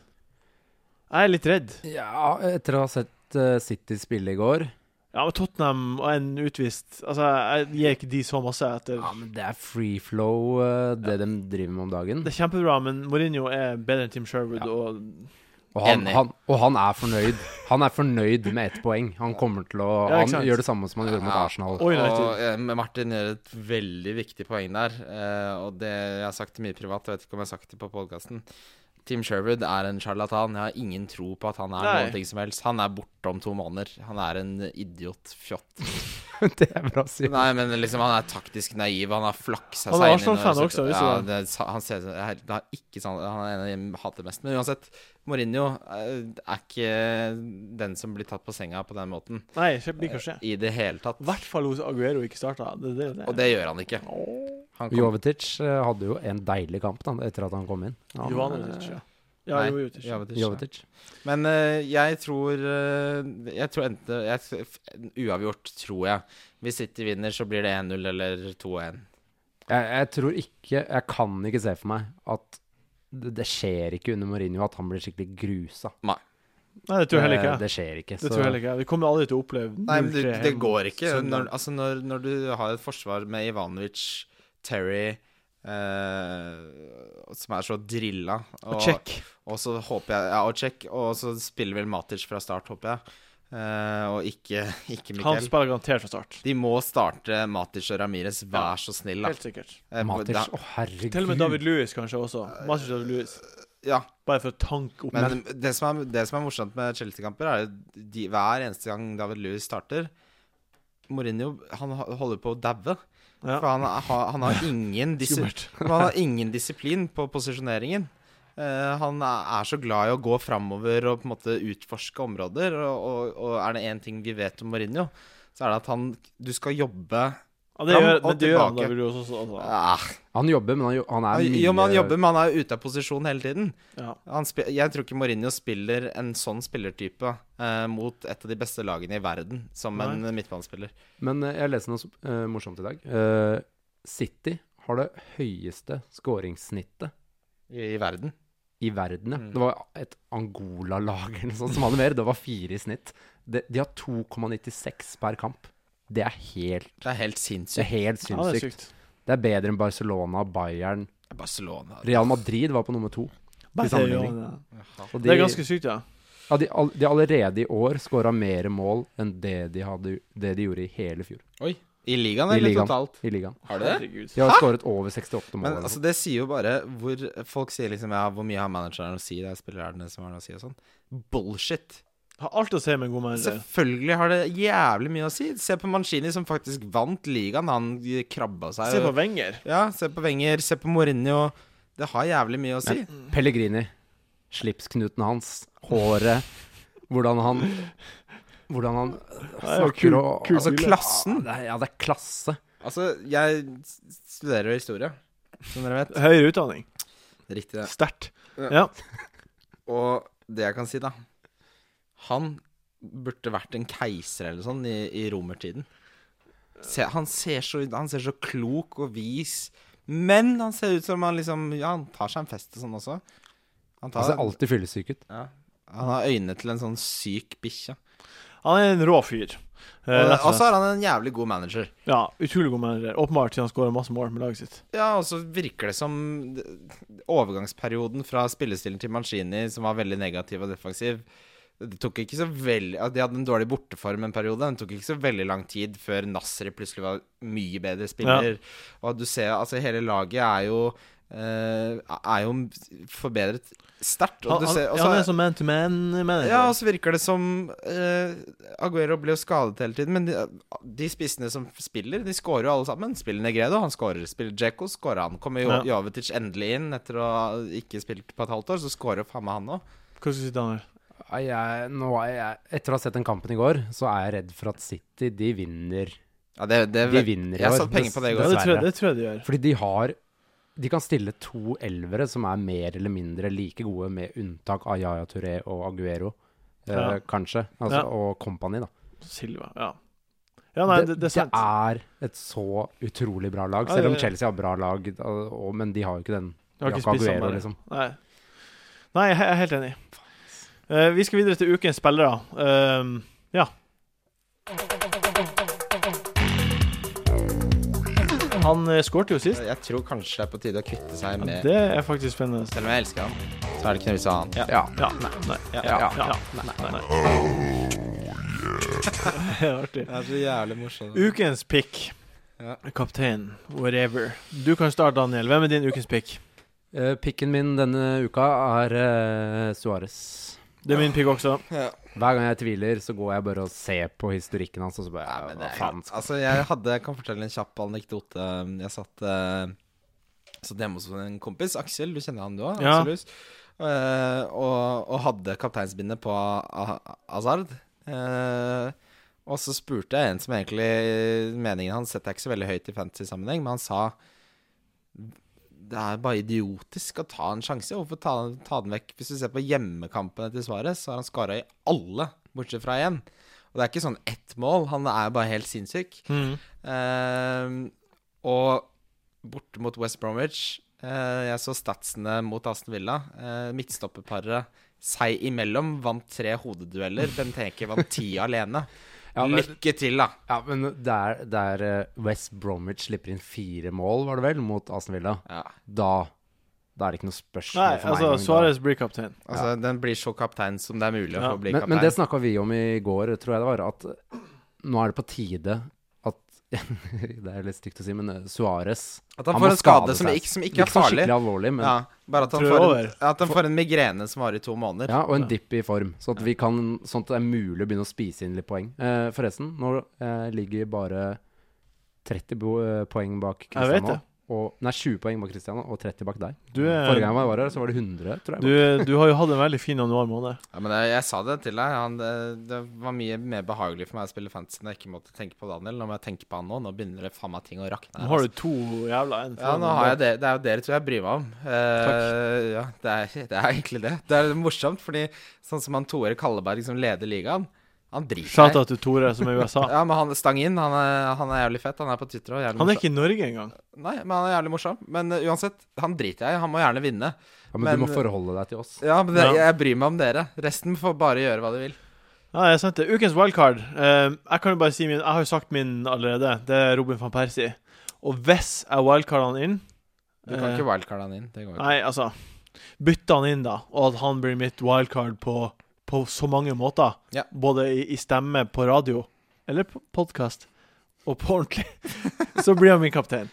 Jeg er litt redd.
Ja, etter å ha sett eh, City spille i går
Ja, men Tottenham og en utvist Altså, jeg gir ikke de så masse etter
Ja, men det er free flow, eh, det de driver med om dagen.
Det er kjempebra, men Mourinho er bedre enn Tim Sherwood,
Ja.
og
Og han,
Enig.
han, og han er fornøyd. Han er fornøyd med ett poeng. Han kommer til å
Ja, ikke
Han
sant?
gjør det samme som han gjorde mot
Ja.
Arsenal.
Oi, nei,
og eh, men Martin gjør et veldig viktig poeng der, eh, og det jeg har sagt det mye privat. Jeg vet ikke om jeg har sagt det på podkasten. Tim Sherwood er en sjarlatan. Jeg har ingen tro på at han er
Nei.
noen ting som helst. Han er borte om to måneder. Han er en idiot. Fjott.
det er bra å si.
Nei, men liksom, han er taktisk naiv. Han har flaksa
Han er
seg inn i
Arsenal-fan
noe-
også, visste du
Ja,
det?
det, sa- han ser det er- det er ikke sånn Han er en av de jeg hater mest. Men uansett, Mourinho eh, er ikke den som blir tatt på senga på den måten
Nei, det blir ikke å skje.
i det hele tatt.
I hvert fall hos Aguero ikke starta. Det, det, det.
Og det gjør han ikke. Han kom,
Jovetic eh, hadde jo en deilig kamp da, etter at han kom inn. Han,
Jovanovic, ja.
eh,
Ja,
Nei,
Jovetic.
Jovetic, ja.
Jovetic.
Men eh, jeg tror eh, Jeg tror enten jeg, f- Uavgjort, tror jeg. Hvis City vinner, så blir det 1-0 eller 2-1.
Jeg, jeg tror ikke Jeg kan ikke se for meg at det, det skjer ikke under Mourinho at han blir skikkelig grusa.
Nei, det tror jeg heller ikke.
Det,
jeg.
det skjer ikke.
Det tror jeg heller ikke. jeg. Vi kommer aldri til å oppleve
Nei, men
0-3
det, det
hjemme.
går ikke.
Søndag.
Når, altså når, når du har et forsvar med Ivanovic, Terry eh, Som er så drilla
Og check.
Og så håper jeg Ja, og check. Og så spiller vel Matic fra start, håper jeg. Eh, og ikke, ikke
Han
Mikkel.
spiller garantert fra start.
De må starte Matic og Ramirez,
Ja.
vær så snill, da.
Helt sikkert.
Eh,
Matic,
da-
å herregud.
Til og med David Lewis kanskje også. Masse David Lewis.
Ja,
Bare for å tanke opp
men det som, er, det som er morsomt med Chelsea-kamper, er jo de, hver eneste gang David Lewis starter Mourinho han ha- holder på å daue.
Ja.
For han, har- han, har ingen disi-
Skummelt.
han har ingen disiplin på posisjoneringen. Eh, han er så glad i å gå framover og på en måte utforske områder. Og, og, og er det én ting vi vet om Mourinho, så er det at han Du skal jobbe
Ja, det gjør,
Fram og
men det gjør han
tilbake.
David Lewis også. Altså.
ah,
Han jobber, men han, jo- han er mye
Jo, men han jobber, men han er jo ute av posisjon hele tiden.
Ja.
Han spi- jeg tror ikke Mourinho spiller en sånn spillertype eh, mot et av de beste lagene i verden som en midtbanespiller.
Men eh, jeg leste noe som- eh, morsomt i dag. Eh, City har det høyeste skåringssnittet
I, i verden.
i verden.
Mm.
ja. Det var et Angola-lag eller noe sånt som hadde mer. Det var fire i snitt. De, de har 2,96 per kamp. Det er helt,
Det er helt
det er
sinnssykt.
helt
Ja, det er
sinnssykt.
sykt.
det er bedre enn Barcelona, Bayern
Barcelona
Real Madrid var på nummer to.
Bare
til
det gjør
sammenligning.
han, ja.
Og de,
Det er ganske sykt, ja.
ja, de, all- de har allerede i år skåra mer mål enn det de, hadde, det de gjorde i hele fjor
I ligaen,
I
eller
ligaen.
totalt?
i ligaen.
Har du det?
Herregud.
De har skåret over 68 mål.
Men
eller noe.
altså, det sier jo bare hvor Folk sier liksom ja, hvor mye har manageren å si, det er spillerne som har noe å si, og sånn. Bullshit.
Har alt å si med en god manager.
Selvfølgelig har det jævlig mye å si. Se på Mancini, som faktisk vant ligaen. Han krabba seg.
Se på Wenger.
Ja, se på Wenger, se på Mourinho. Det har jævlig mye å si.
Pellegrini. Slipsknuten hans, håret, hvordan han Hvordan han
jo
snakker
kul-
og
kul
altså,
bilde.
klassen! Det er, ja, det er klasse.
Altså, jeg studerer jo historie, som dere vet.
Høyere utdanning.
Riktig det.
Sterkt.
Og det jeg kan si, da Han burde vært en keiser eller sånn i, i romertiden. Se, han, ser så, han ser så klok og vis, men han ser ut som han liksom Ja, han tar seg en fest og sånn også. Han,
Han
tar,
ser Altså, alltid fyllesyk ut.
ja, han har øynene til en sånn syk bikkje.
Han er en rå fyr. Eh,
Og altså-
rett og
og så
slett.
er han en jævlig god manager.
Ja, utrolig god manager. Åpenbart siden han skårer masse mål med laget sitt.
Ja, og så virker det som overgangsperioden fra spillestilen til Mancini, som var veldig negativ og defensiv det tok ikke så veldig, at De hadde en dårlig borteform en periode. Det tok ikke så veldig lang tid før Nasri plutselig var mye bedre spiller. Og du ser, altså Hele laget er jo eh, Er jo forbedret sterkt. Og
Han,
du
han,
ser- og
han
så-
er som man-to-man-manager.
ja, altså- og så virker det som eh, Aguero blir jo skadet hele tiden, men de, de spissene som spiller, de skårer jo alle sammen. Spiller Negredo, han skårer. Spiller Djeko, skårer han. Kommer jo
Ja.
Jovetic endelig inn etter å ha ikke spilt på et halvt år, så skårer jo faen meg han òg.
Hva skal du si, Daniel?
Nei, Jeg, nå er jeg, etter å ha sett den kampen i går, så er jeg redd for at City de vinner.
Ja, det, det,
De vinner i år.
Jeg satte penger på det i
Ja,
går.
det, tror
Dessverre.
jeg, det tror jeg de gjør.
Fordi de har De kan stille to elvere som er mer eller mindre like gode, med unntak av Yaya Touré og Aguero, eh,
Ja.
kanskje. Altså,
Ja.
Og Company, da.
Silva. Ja. Ja, nei, det, det er sant.
er et så utrolig bra lag,
Ja,
selv om
det-
Chelsea har bra lag, og, og, men de har jo ikke den.
Jeg har ikke
Jakob
spist
Aguero,
sammen.
liksom.
Nei. Nei, jeg jeg er helt enig. Eh, vi skal videre til ukens spillere. Um, ja. Han uh, skårte jo sist.
Jeg tror kanskje det er på tide å kvitte seg
Ja,
med
det er faktisk spennende.
Selv om jeg elsker han, så er det ikke noe vits i å ha han.
Ja.
Ja. Nei. Nei. Ja.
Ja.
ja, Nei. nei. Det er Artig.
Det er så jævlig morsomt.
Ukens pick.
Ja.
Kaptein, whatever. Du kan starte, Daniel. Hvem er din ukens pick?
Eh, picken min denne uka er eh, Suarez.
Det er min pick også.
Hver gang jeg tviler, så går jeg bare og ser på historikken hans, og så bare
Nei, men det
Hva
er
faen?
greit. Altså, jeg hadde Jeg kan fortelle en kjapp anekdote. Jeg satt, eh, satt hjemme hos en kompis, Aksel. Du kjenner han du òg?
Ja.
og, og hadde kapteinsbindet på A- A- Hazard. Eh, og så spurte jeg en som egentlig Meningen hans setter jeg ikke så veldig høyt i fantasy-sammenheng, men han sa det er bare idiotisk å ta en sjanse. Hvorfor ta, ta den vekk? Hvis du ser på hjemmekampene til Suárez, så har han skåra i alle, bortsett fra én. Og det er ikke sånn ett mål. Han er bare helt sinnssyk. Ehm, og borte mot West Bromwich eh, Jeg så statsene mot Aston Villa. Uh, Midtstopperparet seg imellom vant tre hodedueller. Benteke vant ti alene.
Ja, men-
Lykke til, da!
Ja, men der, der eh, West Bromwich slipper inn fire mål, var det vel, mot Aston Villa,
Ja.
da Da er det ikke noe spørsmål
Nei,
for meg.
altså,
engang, da.
Suárez blir kaptein.
Altså, Den blir så kaptein som det er mulig
Ja.
å få bli
men,
kaptein.
men det snakka vi om i går, tror jeg det var, at nå er det på tide at Det er litt stygt å si, men eh, Suárez
At han,
han
får
må
en skade
skade
som
seg.
ikke, som ikke er
sånn
farlig.
skikkelig alvorlig, men
Ja, bare at han,
Tror
får en,
over.
at han får en migrene som varer i to måneder.
Ja, og en dipp i form, sånn at, vi kan, sånn at det er mulig å begynne å spise inn litt poeng. Eh, forresten, nå eh, ligger bare 30 bo eh, poeng bak
Jeg vet
Christian nå. Og, nei, 20 poeng bak Christian og 30 bak deg.
Du,
eh,
er-
Forrige gang jeg var her, så var det 100, tror jeg.
du, du har jo hatt en veldig fin januar måned.
Ja, men jeg, jeg sa det til deg. Han, det, det var mye mer behagelig for meg å spille fantasy når jeg ikke måtte tenke på Daniel. Nå må jeg tenke på han nå. Nå begynner det faen meg ting å rakne.
Nå
her,
har
altså.
du to jævla en.
Ja, nå har jeg det. Det er jo dere to jeg bryr meg om. Eh, ja, det er, det er egentlig det. Det er morsomt, fordi sånn som han Tore Kalleberg som leder ligaen, han driter
Shout-out til Tore, som er i USA.
Ja, men han stang inn. Han er, han er jævlig fett. Han er på Twitter og jævlig
Han er
morsom.
ikke i Norge engang.
Nei, men han er jævlig morsom. Men eh, uansett, han driter jeg i. Han må gjerne vinne.
Ja, men, du
men- eh,
må forholde deg til oss.
Ja, men det,
Ja.
jeg bryr meg om dere. Resten får bare gjøre hva de vil.
Ja, jeg sendte ukens wildcard. Eh, jeg kan jo bare si min Jeg har jo sagt min allerede. Det er Robin van Persie. Og hvis jeg wildcarder han inn
Du kan
eh,
ikke wildcarde han inn. Det går ikke.
Nei, altså Bytte han inn, da, og at han blir mitt wildcard på, på så mange måter.
Ja.
Både i, i stemme på radio, eller på podkast, og på ordentlig. så blir han min kaptein.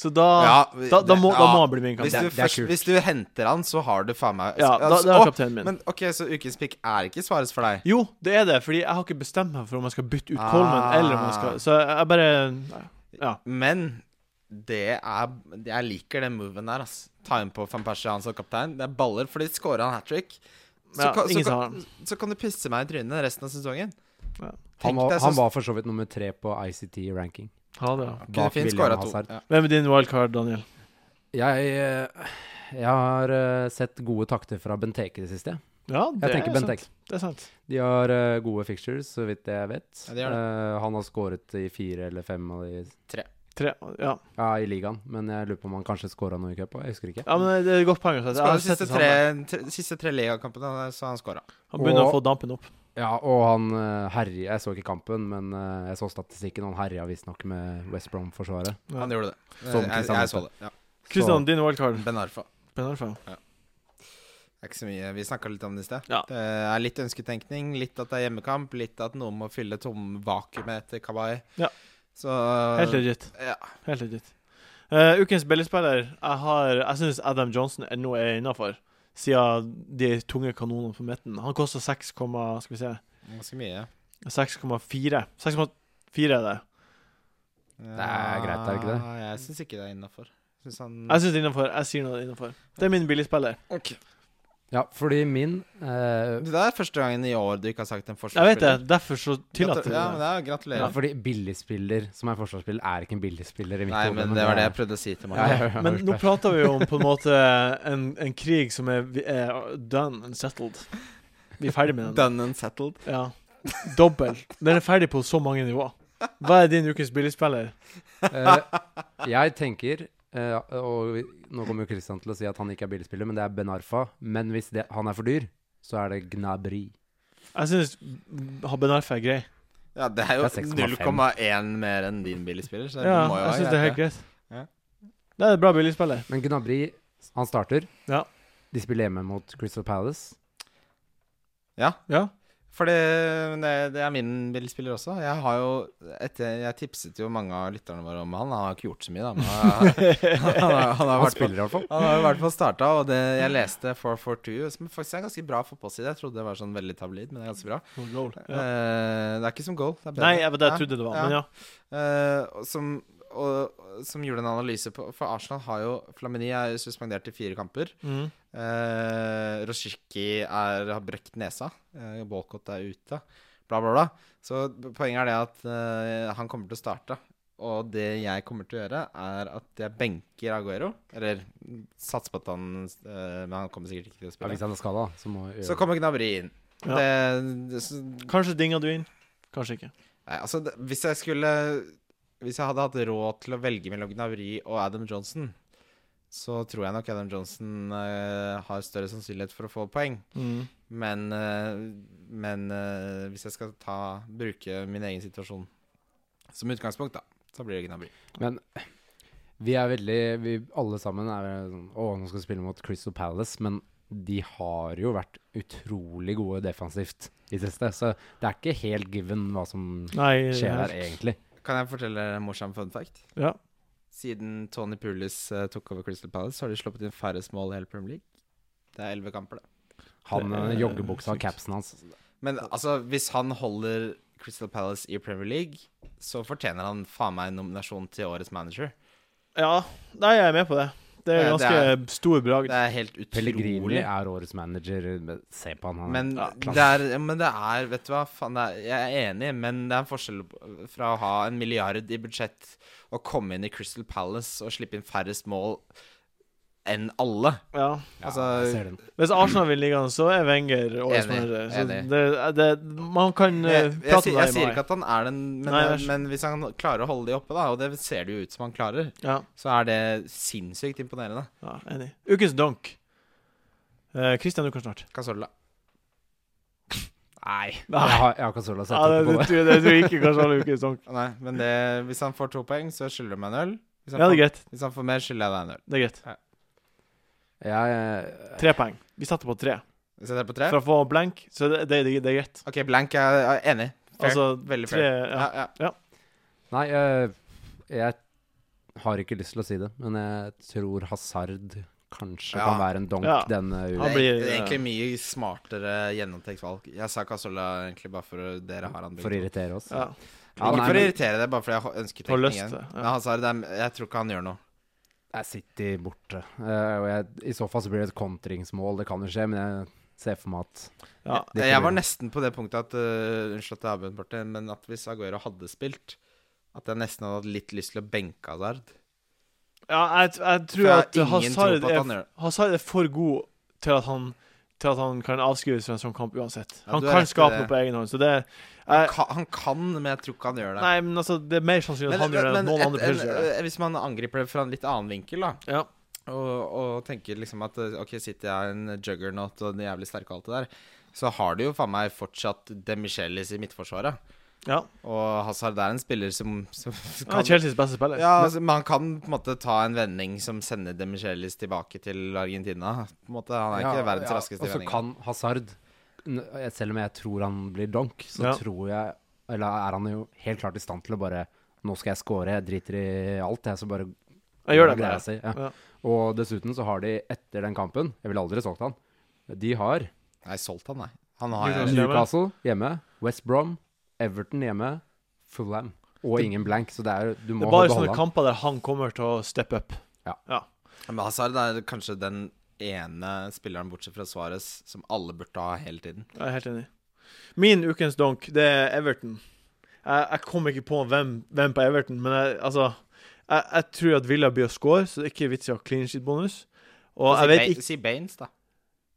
Så da
Ja, vi-
da, da,
det-
må, da
ja.
må han bli min
Hvis
kaptein.
du,
Det er
først,
kult.
hvis du henter han, så har du faen meg
Ja, da,
Altså,
da er
å,
han kapteinen min.
Men OK, så ukens pick er ikke svaret for deg?
Jo, det er det, fordi jeg har ikke bestemt meg for om jeg skal bytte ut
Ah.
Coleman, eller om jeg skal Så jeg jeg bare Ja.
Men det er Jeg liker den moven der, ass. Ta inn på van Persie han som kaptein. Det er baller, fordi scorer han hat trick, så,
ja
kan, så,
ingen sa
kan,
han.
så kan du pisse meg i trynet resten av sesongen.
Ja.
Han
Tenk
var,
deg så
han var for så vidt nummer tre på ICT-ranking.
Ha det, ja.
kunne
bak
fint
William
skåra to.
Hazard.
Ja.
Hvem er din wildcard, Daniel?
Jeg, eh, jeg har eh, sett gode takter fra Benteke i det siste.
Ja, det
Jeg tenker
er sant.
Benteke.
Det er sant.
De har eh, gode fixtures, så vidt jeg vet.
Ja, de har
Eh, han har skåret i fire eller fem av de
Tre, ja.
Ja, i ligaen, men jeg lurer på om han kanskje skåra noe i cup òg. Jeg husker ikke.
ja, men det er et godt poeng. å sette. Jeg
Skåra
har
de
sett
siste
det
tre,
samme.
tre, siste tre ligakampene, så han skåra.
Han begynner å
Og-
få dampen opp.
Ja, og han eh, herja Jeg så ikke kampen, men eh, jeg så statistikken. Han herja visstnok med West Brom-forsvaret.
Ja.
Han gjorde det.
Som
Jeg, jeg,
Kristian
så det. Ja.
Kristian, din wildcard.
Ben Arfa.
Ben Arfa.
Det er ikke så mye. Vi snakka litt om det i sted.
Ja.
Det er litt ønsketenkning, litt at det er hjemmekamp, litt at noen må fylle tom vakuumet etter Kabay.
Ja.
Så
Helt legit.
ja.
Helt legit. Eh, ukens billigspiller Jeg, har- jeg syns Adam Johnson ennå er innafor, siden de tunge kanonene på midten. Han koster 6, skal vi se
Ganske mye.
6,4. 6,4 er det.
Det
er greit, er det ikke
det? Ah, Jeg syns ikke det er innafor. Syns han
Jeg syns det er innafor. Jeg sier noe innafor. Det er min billigspiller.
Ja, fordi min eh,
Det er første gangen i år du ikke har sagt en
Jeg vet det.
forsvarsspiller.
Derfor så tillater
Gratu- Ja,
jeg det.
men det er
ja,
Gratulerer.
fordi billigspiller som er forsvarsspiller, er ikke en billigspiller i mitt
Nei,
hode,
men det var det jeg
er-
prøvde å si til
Ja,
Magne.
ja, ja,
Men nå
klart.
prater vi jo om på en måte en, en krig som er, vi- er done and settled. Vi er ferdig med den.
Done and settled.
Ja. Dobbel. Den er ferdig på så mange nivå. Hva er din ukens billigspiller?
Eh, jeg tenker eh, Og vi- nå kommer jo Christian til å si at han ikke er billigspiller, men det er Ben Arfa. Men hvis det, han er for dyr, så er det Gnabry.
Jeg syns Ben Arfa er grei.
Ja, det er jo
Det er 6,5.
0,1 mer enn din billigspiller, så
Ja,
du må jo
jeg
ha
syns det er helt greit.
Ja.
Det er en bra billigspiller.
Men Gnabry, han starter.
Ja.
De spiller hjemme mot Crystal Palace.
Ja.
For det, det, det er min billigspiller også. Jeg har jo etter, Jeg tipset jo mange av lytterne våre om han. Han har ikke gjort så mye, da. Men han, har- han, har- han, har
Han
vært på,
spiller i hvert fall.
han har jo vært på starta, og det, jeg leste 442, som faktisk er en ganske bra fotballside. Jeg trodde det var sånn veldig tabloid, men det er ganske bra.
Og goal. Ja.
Eh, det er ikke som goal. Det er bedre.
Nei, jeg, det jeg trodde det var,
Ja.
men ja.
Eh, og som, og, som gjorde en analyse på For Arsenal har jo Flamini er jo suspendert i fire kamper.
Mm.
Eh, Roshiki er, har brekt nesa. Eh, Walcott er ute. Bla, bla, bla. Så poenget er det at eh, han kommer til å starte. Og det jeg kommer til å gjøre, er at jeg benker Aguero. Eller mm, satser på at han eh, Men han kommer sikkert ikke til å
Ja, hvis
spille.
han er skada, så må
Så kommer Gnabry inn.
Ja.
Det, det, så-
Kanskje dinga du inn. Kanskje ikke.
nei, altså, det, hvis jeg skulle Hvis jeg hadde hatt råd til å velge mellom Gnabry og Adam Johnson, så tror jeg nok Adam Johnson eh, har større sannsynlighet for å få poeng.
Mm.
Men, eh, men eh, hvis jeg skal ta, bruke min egen situasjon som utgangspunkt, da, så blir det Gnabry.
Men vi er veldig vi, Alle sammen er vel sånn Å, nå skal vi spille mot Crystal Palace, men de har jo vært utrolig gode defensivt i det siste. Så det er ikke helt given hva som
Nei
skjer
helt-
der, egentlig.
Kan jeg fortelle en morsom fun fact?
Ja.
Siden Tony Pulis eh, tok over Crystal Palace, så har de sluppet inn færrest mål i hele Premier League. Det er elleve kamper, det.
Han
Det er
eh, joggebuksa og
sykt.
capsen hans
Men altså, hvis han holder Crystal Palace i Premier League, så fortjener han faen meg en nominasjon til årets manager.
ja. Nei, jeg er med på det. Det er
Ja, det
ganske stor bragd.
Det er helt
Pellegrini
utrolig.
er årets manager. men Se på han, han er-
Men,
ja, klasse.
det er, ja, men det er Vet du hva, faen, det er, jeg er enig, men det er en forskjell fra å ha en milliard i budsjett og komme inn i Crystal Palace og slippe inn færrest mål enn alle.
Ja.
ja,
altså-
jeg ser den.
Hvis Arsenal vinner ligaen, så er Wenger årets
Enig,
manager. Så
enig.
det, det, man kan eh,
Jeg, jeg,
prate
sier-
om det
jeg
i
sier
mai.
ikke at han er den, men, eh,
Nei, jeg skj-
men hvis han klarer å holde de oppe, da, og det ser det jo ut som han klarer,
Ja,
så er det sinnssykt imponerende.
ja, enig. Ukens donk. Eh, Christian, du kan snart.
Casola. Nei.
Nei.
Jeg har, jeg har Casola
Ah. Ja, det, det,
sett på det.
tror jeg- det tror jeg ikke kanskje alle ukens donk.
Nei, men det, hvis han får to poeng, så skylder du meg en øl. Hvis han,
Ja, det er
får,
greit.
hvis han får mer, skylder jeg deg en øl.
Det er greit.
Jeg,
Tre poeng. Vi satte på tre.
Hvis jeg tar på tre
For å få blank, så det, det, det, det er greit.
OK, blank jeg er enig. Fair.
Altså,
Veldig
Tre,
fair.
ja.
Ja, ja.
Nei, jeg, jeg har ikke lyst til å si det, men jeg tror Hazard kanskje
Ja.
kan være en donk
Ja.
denne
Han
Det,
uka.
er,
blir- eh,
det er egentlig mye smartere gjennomtenkt valg. Jeg sa Casola egentlig bare for å- dere har han
For å irritere oss.
ja.
Ja,
Ikke
nei,
for å
men-
irritere deg, bare fordi jeg ønsker
Får lyst
tenkningen.
til det.
Men
Ja.
Hazard, det er- jeg tror ikke han gjør noe.
Jeg sitter borte. Eh, og jeg, I så fall så blir det et kontringsmål, det kan jo skje, men jeg ser for meg at
Ja.
Det
jeg
tror
var
jeg.
nesten på det punktet at øh, Unnskyld at jeg avbrøt, Martin, men at hvis Aguero hadde spilt At jeg nesten hadde hatt litt lyst til å benke Hazard.
ja, jeg, jeg tror
For jeg har
at
ingen tro
Hazard
på at han
er,
gjør det.
Hazard er for god til at han til at han kan avskrives fra en sånn kamp uansett.
Ja,
Han
du har
kan
rett i
skape
det.
noe på egen hånd, så det jeg,
Ka han kan, men jeg tror ikke han gjør det.
Eh, Nei, men altså, det er mer sannsynlig
men,
at han gjør det enn at
men
noen
et-
andre spillere gjør det.
en- hvis man angriper det fra en litt annen vinkel, da,
Ja.
og, og tenker liksom at øh, OK, sitter jeg er en juggernaut og den jævlig sterke og alt det der, så har du jo faen meg fortsatt De Michelis i midtforsvaret.
Ja.
Og Hazard er en spiller som, som
Han er Chelseas beste spiller.
Ja, altså, man kan på en måte ta en vending som sender De Michelis tilbake til Argentina. På en måte, han er
Ja,
ikke verdens
ja,
raskeste i
Og så
vendinga.
kan Hazard n- eh, Selv om jeg tror han blir donk, så
Ja.
tror jeg Eller er han jo helt klart i stand til å bare Nå skal jeg score, jeg driter i alt, jeg, så bare
Jeg gjør det bare.
greia si. Ja.
Ja.
Og dessuten så har de etter den kampen Jeg ville aldri solgt han. De har
Nei, solgt han, nei. Han har
Newcastle.
jeg.
Newcastle hjemme, West Brom, Everton hjemme, Fulham. Og ingen blank, så det er, du
Det
må
er bare
beholde
sånne
han.
kamper der han kommer til å steppe up.
Men Hazard er kanskje den ene spilleren bortsett fra Suárez som alle burde ha hele tiden.
Jeg er helt enig. Min ukens donk, det er Everton. Jeg, jeg kom ikke på hvem, hvem på Everton, men jeg, altså jeg, jeg tror at Villa blir å score, så det er ikke vits i å ha clean sheet-bonus. Og
si,
jeg vet
Ba-
ikke
si Altså, Baines, da.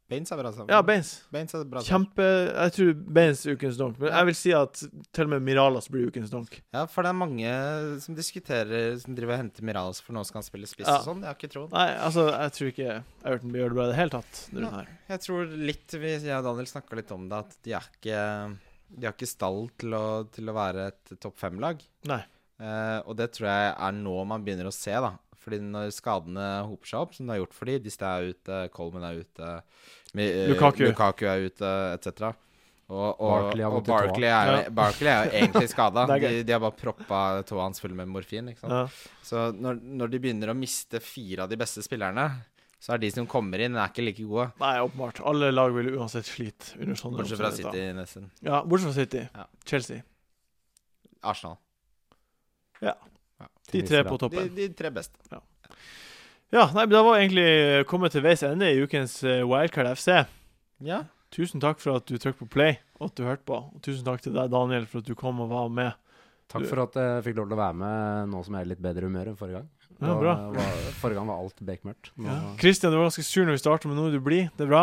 Baines er bra sammen.
Ja, Baines.
Baines er bra sammen.
Kjempe Jeg tror Baines er ukens donk, men jeg vil si at til og med Miralas blir ukens donk.
Ja, for det er mange som diskuterer Som driver og henter Mirales for nå skal han spille spiss
Ja.
og sånn. Jeg har ikke troen.
Nei, altså, jeg tror ikke Everton blir å gjøre det bra i det hele tatt. denne runden her.
Jeg tror litt vi, Jeg og Daniel snakka litt om det, at de er ikke De har ikke stall til å, til å være et topp fem-lag.
Nei.
Eh, og det tror jeg er nå man begynner å se, da. Fordi når skadene hoper seg opp, som det har gjort for de Dista er ute, Coleman er ute, Mi- eh,
Lukaku.
Lukaku er ute, etc. Og, og,
Barkley har
og
vondt i tåa.
Barkley er, jo-
Ja.
Barkley er jo egentlig skada.
Det er
de,
gøy.
de har bare proppa tåa hans full med morfin. Ikke sant?
Ja.
Så når, når de begynner å miste fire av de beste spillerne, så er de som kommer inn, er ikke like gode.
Nei, åpenbart. Alle lag vil uansett slite under sånne
Bortsett fra
omstendigheter.
City, nesten.
Ja, bortsett fra City.
Ja.
Chelsea.
Arsenal.
De tre på toppen.
De, de tre beste.
Ja, nei, men da var vi egentlig eh, kommet til veis ende i ukens eh, Wildcard FC.
Ja.
Tusen takk for at du trykket på play, og at du hørte på. Og tusen takk til deg, Daniel, for at du kom og var med
Takk for at jeg fikk lov til å være med nå som jeg er i litt bedre humør enn forrige gang.
Ja,
Da
bra.
Var, forrige gang var alt bekmørkt. Nå,
Christian, du var ganske sur når vi startet, men nå er du blid. Det er bra.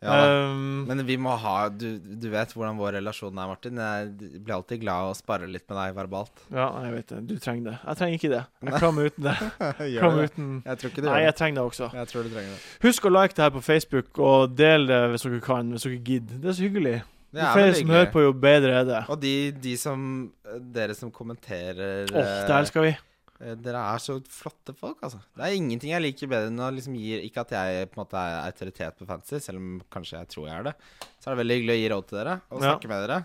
Ja, da.
Um,
Men vi må ha du, du vet hvordan vår relasjon er, Martin. Jeg blir alltid glad å spare litt med deg verbalt.
ja, nei, jeg vet det. Du trenger det. Jeg trenger ikke det. Jeg klarer meg uten det. Jeg klarer meg uten...
Jeg tror ikke du
Nei,
gjør
jeg
det.
trenger det også.
Jeg tror du trenger det.
Husk å like det her på Facebook, og del det hvis dere kan, hvis dere gidder. Det er så hyggelig.
Det
Jo
er
flere
veldig
som
hyggelig.
hører på, jo bedre er det. Åh,
Og de, de som eh, Dere som kommenterer
det elsker vi.
eh, Dere er så flotte folk, altså. Det er ingenting jeg liker bedre enn å liksom gi Ikke at jeg på en måte er autoritet på fantasy, selv om kanskje jeg tror jeg er det. Så er det veldig hyggelig å gi råd til dere og
Ja.
snakke med dere.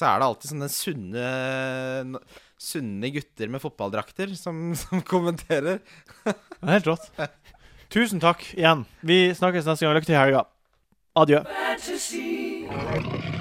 Så er det alltid sånne sunne n- Sunne gutter med fotballdrakter som, som kommenterer.
Det er helt rått. Tusen takk igjen. Vi snakkes neste gang. Lykke til i helga. Adjø.
fantasy.